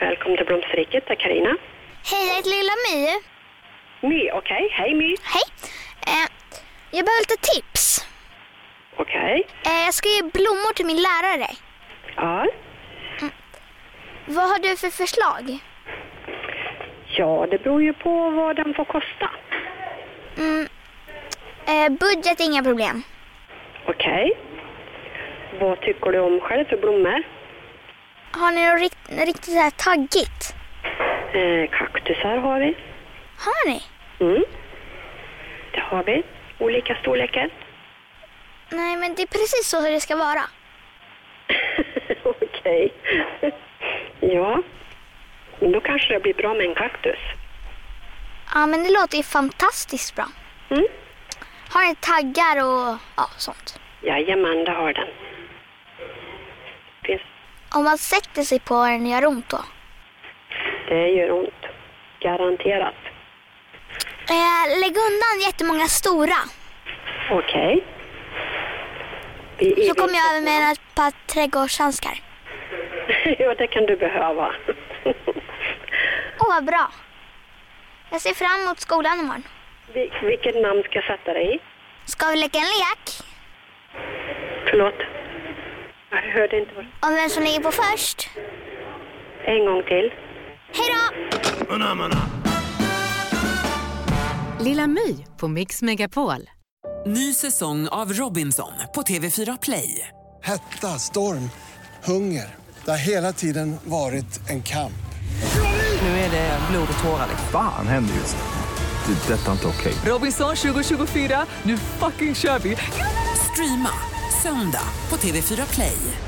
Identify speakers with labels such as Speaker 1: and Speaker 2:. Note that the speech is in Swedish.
Speaker 1: Välkommen till Blomsterriket, det är Carina.
Speaker 2: Hej, jag heter Lilla My.
Speaker 1: My, okej. Hej My.
Speaker 2: Hej. Eh, jag behöver lite tips.
Speaker 1: Okej.
Speaker 2: Eh, jag ska ge blommor till min lärare.
Speaker 1: Ja.
Speaker 2: Vad har du för förslag?
Speaker 1: ja, det beror ju på vad den får kosta.
Speaker 2: Eh, budget, inga problem.
Speaker 1: Okej. Vad tycker du om själv för blommor?
Speaker 2: Har ni något rikt- riktigt så här taggigt?
Speaker 1: Eh, kaktusar har vi.
Speaker 2: Har ni?
Speaker 1: Mm. Det har vi. Olika storlekar.
Speaker 2: Nej, men det är precis så hur det ska vara.
Speaker 1: okej. ja. Då kanske det blir bra med en kaktus.
Speaker 2: Ja, men det låter ju fantastiskt bra.
Speaker 1: Mm.
Speaker 2: Har ni taggar och ja, sånt?
Speaker 1: Jajamän, det har den. Finns
Speaker 2: Om man sätter sig på den gör ont då?
Speaker 1: Det gör ont. Garanterat.
Speaker 2: Eh, lägg undan jättemånga stora.
Speaker 1: Okej. Vi Mm.
Speaker 2: Så kommer jag över med ett par trädgårdshandskar.
Speaker 1: ja, det kan du behöva.
Speaker 2: Åh, vad bra. Jag ser fram emot skolan imorgon.
Speaker 1: Vi, vilket namn ska jag sätta dig i?
Speaker 2: Ska vi leka en lek?
Speaker 1: Förlåt? Jag hörde inte. vad-
Speaker 2: Om vem som ligger på först?
Speaker 1: En gång till.
Speaker 2: Hej då!
Speaker 3: Lilla My på Mix Megapol.
Speaker 4: Ny säsong av Robinson på TV4 Play.
Speaker 5: Hetta, storm, hunger. Det har hela tiden varit en kamp.
Speaker 4: Nu är det blod och tårar.
Speaker 6: Fan händer just nu. Det. är Detta är inte okej.
Speaker 4: Robinson 2024, nu fucking kör vi! Streama söndag på TV4 Play.